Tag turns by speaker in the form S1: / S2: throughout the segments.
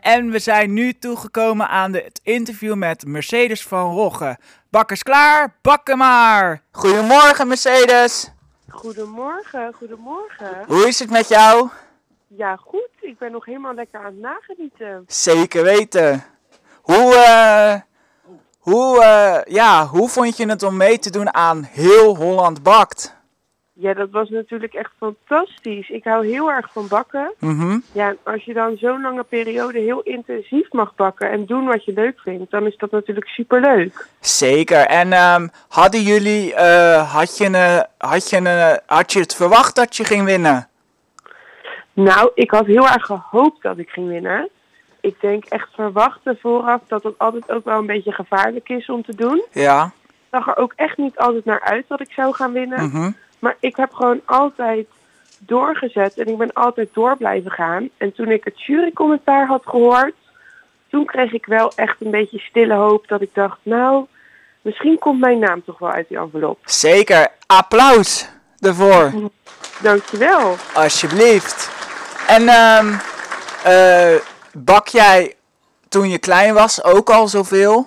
S1: En we zijn nu toegekomen aan de- het interview met Mercedes van Rogge. Bakkers klaar, bakken maar! Goedemorgen Mercedes,
S2: Goedemorgen, goedemorgen.
S1: hoe is het met jou?
S2: Ja, goed. Ik ben nog helemaal lekker aan het nagenieten.
S1: Zeker weten. Hoe, eh, hoe, eh, ja, hoe vond je het om mee te doen aan Heel Holland Bakt?
S2: Ja, dat was natuurlijk echt fantastisch. Ik hou heel erg van bakken.
S1: Mhm.
S2: Ja, en als je dan zo'n lange periode heel intensief mag bakken en doen wat je leuk vindt, dan is dat natuurlijk superleuk.
S1: Zeker. En ehm, hadden jullie, eh, had, je een, had, je een, had je het verwacht dat je ging winnen?
S2: Nou, ik had heel erg gehoopt dat ik ging winnen. Ik denk echt verwachten vooraf dat het altijd ook wel een beetje gevaarlijk is om te doen.
S1: Ja.
S2: Ik zag er ook echt niet altijd naar uit dat ik zou gaan winnen.
S1: Mhm.
S2: Maar ik heb gewoon altijd doorgezet en ik ben altijd door blijven gaan. En toen ik het jurycommentaar had gehoord, toen kreeg ik wel echt een beetje stille hoop dat ik dacht, nou, misschien komt mijn naam toch wel uit die envelop.
S1: Zeker. Applaus ervoor,
S2: Dankjewel.
S1: alsjeblieft. En ehm, eh, bak jij toen je klein was ook al zoveel?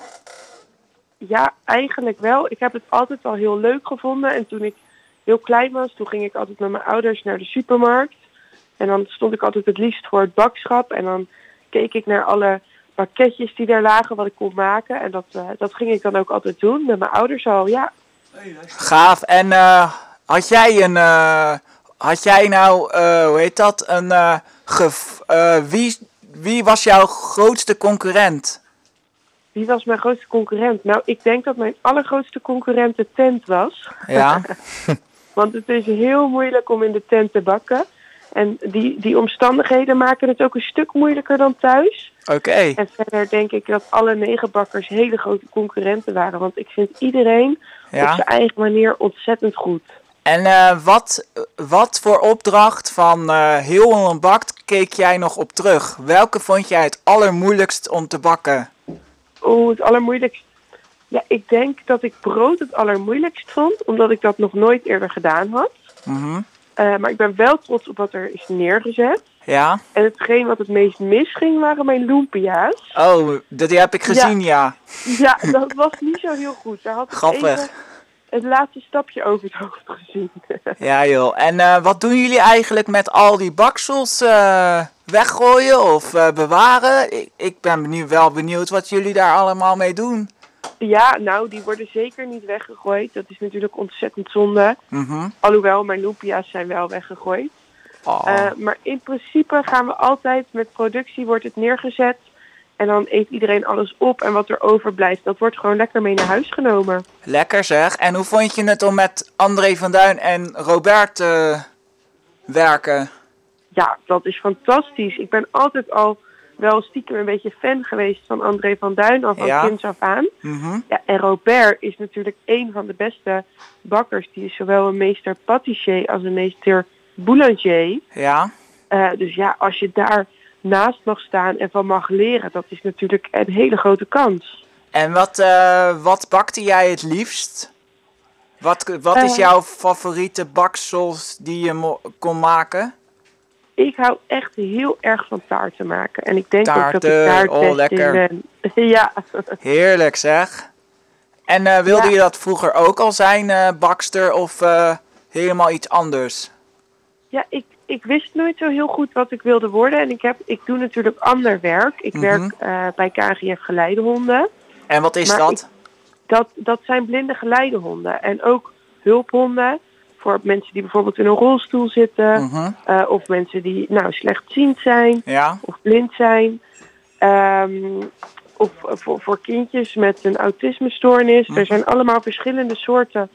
S2: Ja, eigenlijk wel. Ik heb het altijd wel heel leuk gevonden. En toen ik heel klein was, toen ging ik altijd met mijn ouders naar de supermarkt. En dan stond ik altijd het liefst voor het bakschap. En dan keek ik naar alle pakketjes die daar lagen, wat ik kon maken. En dat, eh, dat ging ik dan ook altijd doen met mijn ouders al. Ja,
S1: Gaaf. En eh, had jij een, eh, had jij nou, eh, hoe heet dat, een, eh, gev- eh, wie, wie was jouw grootste concurrent?
S2: wie was mijn grootste concurrent? Nou, ik denk dat mijn allergrootste concurrent de tent was.
S1: Ja.
S2: Want het is heel moeilijk om in de tent te bakken. En die, die omstandigheden maken het ook een stuk moeilijker dan thuis.
S1: Oké.
S2: En verder denk ik dat alle negen bakkers hele grote concurrenten waren. Want ik vind iedereen op
S1: Ja.
S2: zijn eigen manier ontzettend goed.
S1: En eh, wat, wat voor opdracht van eh heel Holland Bakt keek jij nog op terug? Welke vond jij het allermoeilijkst om te bakken?
S2: Oeh, Oh, het allermoeilijkst. Ja, ik denk dat ik brood het allermoeilijkst vond. Omdat ik dat nog nooit eerder gedaan had.
S1: Mhm.
S2: Eh, maar ik ben wel trots op wat er is neergezet.
S1: Ja?
S2: En hetgeen wat het meest misging waren mijn lumpia's.
S1: Oh, dat die heb ik gezien, ja.
S2: Ja, dat was niet zo heel goed. Daar had ik
S1: Grappig.
S2: even het laatste stapje over het hoofd gezien.
S1: Ja, joh. En eh, wat doen jullie eigenlijk met al die baksels? eh, weggooien of eh, bewaren? Ik, ik ben nu wel benieuwd wat jullie daar allemaal mee doen.
S2: Ja, nou, die worden zeker niet weggegooid. Dat is natuurlijk ontzettend zonde.
S1: Mhm.
S2: Alhoewel, mijn loempia's zijn wel weggegooid.
S1: Oh.
S2: Eh, maar in principe gaan we altijd met productie, wordt het neergezet. En dan eet iedereen alles op en wat er overblijft, dat wordt gewoon lekker mee naar huis genomen.
S1: Lekker zeg. En hoe vond je het om met André van Duin en Robert te werken?
S2: Ja, dat is fantastisch. Ik ben altijd al wel stiekem een beetje fan geweest van André van Duin, al van
S1: Ja.
S2: kinds af aan.
S1: Mhm.
S2: Ja, en Robert is natuurlijk een van de beste bakkers. Die is zowel een meester patissier als een meester boulanger.
S1: Ja.
S2: Eh, dus ja, als je daar naast mag staan en van mag leren, dat is natuurlijk een hele grote kans.
S1: En wat, eh, wat bakte jij het liefst? Wat, wat is
S2: Eh.
S1: jouw favoriete baksels die je mo- kon maken?
S2: Ik hou echt heel erg van taarten maken. En ik denk ook dat
S1: Taarten,
S2: ik daar het
S1: oh,
S2: best
S1: lekker.
S2: in ben. ja,
S1: Heerlijk zeg. En eh, wilde
S2: Ja.
S1: je dat vroeger ook al zijn, eh, bakster, of eh, helemaal iets anders?
S2: ja ik, ik wist nooit zo heel goed wat ik wilde worden. En ik, heb, ik doe natuurlijk ander werk.
S1: Mhm.
S2: Ik werk eh, bij KGF Geleidehonden.
S1: En wat is
S2: Maar
S1: dat?
S2: Dat, dat zijn blinde geleidehonden. En ook hulphonden voor mensen die bijvoorbeeld in een rolstoel zitten.
S1: Mhm.
S2: eh, of mensen die nou slechtziend zijn.
S1: Ja,
S2: of blind zijn. Ehm, of voor, voor kindjes met een autismestoornis.
S1: Hm.
S2: Er zijn allemaal verschillende soorten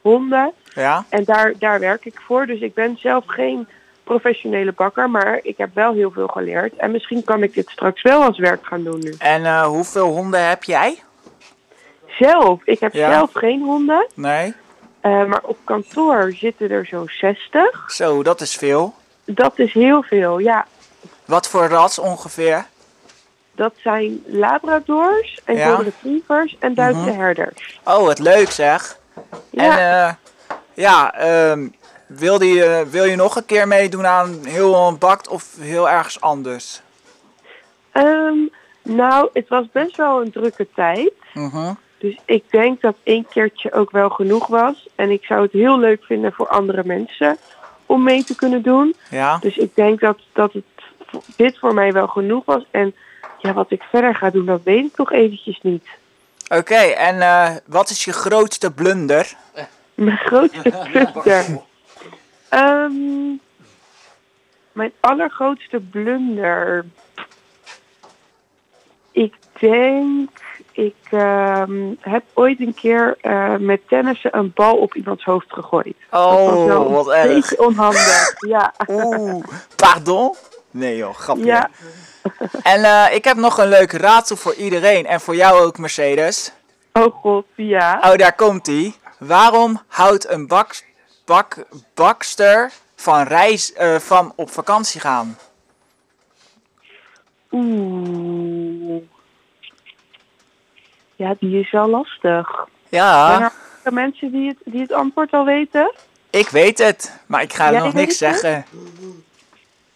S2: honden.
S1: ja.
S2: En daar, daar werk ik voor. Dus ik ben zelf geen professionele bakker. Maar ik heb wel heel veel geleerd. En misschien kan ik dit straks wel als werk gaan doen nu.
S1: En eh, hoeveel honden heb jij?
S2: Zelf. Ik heb
S1: Ja.
S2: zelf geen honden.
S1: Nee.
S2: eh, maar op kantoor zitten er zo'n 60.
S1: Zo, dat is veel.
S2: Dat is heel veel. Ja,
S1: Wat voor ras ongeveer?
S2: dat zijn labradors en
S1: Ja.
S2: golden retrievers en Duitse herders.
S1: Oh, wat leuk zeg. En
S2: Ja.
S1: eh, ja, ehm, wilde je, wil je nog een keer meedoen aan heel Holland Bakt of heel ergens anders?
S2: Ehm, Nou, het was best wel een drukke tijd.
S1: Mhm.
S2: Dus ik denk dat één keertje ook wel genoeg was. En ik zou het heel leuk vinden voor andere mensen om mee te kunnen doen.
S1: Ja,
S2: Dus ik denk dat, dat het, v- dit voor mij wel genoeg was. En ja, wat ik verder ga doen, dat weet ik nog eventjes niet.
S1: oké. En eh, wat is je grootste blunder?
S2: Mijn grootste blunder. Ehm, mijn allergrootste blunder. Ik denk, ik ehm, heb ooit een keer eh, met tennissen een bal op iemands hoofd gegooid. dat was wel
S1: Oh,
S2: een
S1: wat erg.
S2: beetje onhandig. ja.
S1: Oeh, pardon? Nee joh, grapje.
S2: ja,
S1: En eh, ik heb nog een leuk raadsel voor iedereen en voor jou ook, Mercedes.
S2: oh god, ja.
S1: Oh, daar komt ie. Waarom houdt een bak, bak, bakster van, reis, eh, van op vakantie gaan?
S2: Oeh. Ja, die is wel lastig.
S1: Ja,
S2: Zijn er andere mensen die het, die het antwoord al weten?
S1: ik weet het, maar ik ga
S2: Jij
S1: nog
S2: weet
S1: niks
S2: het?
S1: zeggen.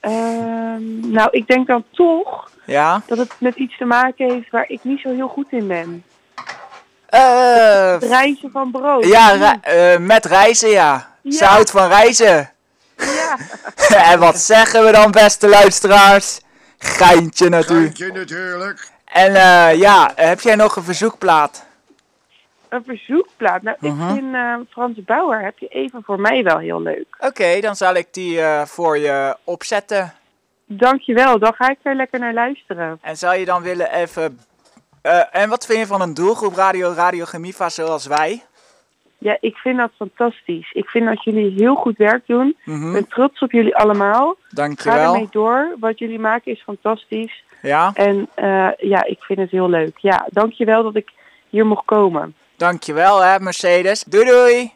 S2: Ehm, nou, ik denk dan toch
S1: Ja?
S2: dat het met iets te maken heeft waar ik niet zo heel goed in ben.
S1: Eh,
S2: Het reizen van brood. Hmm,
S1: ja, re- eh, met reizen, ja. Ze
S2: Ja.
S1: houdt van reizen.
S2: Ja.
S1: en wat zeggen we dan, beste luisteraars? Geintje natuurlijk.
S3: Geintje natuurlijk.
S1: En eh, ja, heb jij nog een verzoekplaat?
S2: Een verzoekplaat. Nou,
S1: Mhm.
S2: ik vind eh, Frans Bauer heb je even voor mij wel heel leuk.
S1: Oké, dan zal ik die eh, voor je opzetten.
S2: Dankjewel, dan ga ik er lekker naar luisteren.
S1: En zou je dan willen even... eh, en wat vind je van een doelgroep Radio Radio Gemifa zoals wij?
S2: Ja, ik vind dat fantastisch. Ik vind dat jullie heel goed werk doen. Ik
S1: Mhm,
S2: ben trots op jullie allemaal. Ga ermee
S1: Dankjewel.
S2: door. Wat jullie maken is fantastisch.
S1: Ja,
S2: En eh, ja, ik vind het heel leuk. Ja, dankjewel dat ik hier mocht komen.
S1: dankjewel hè Mercedes. Doei doei!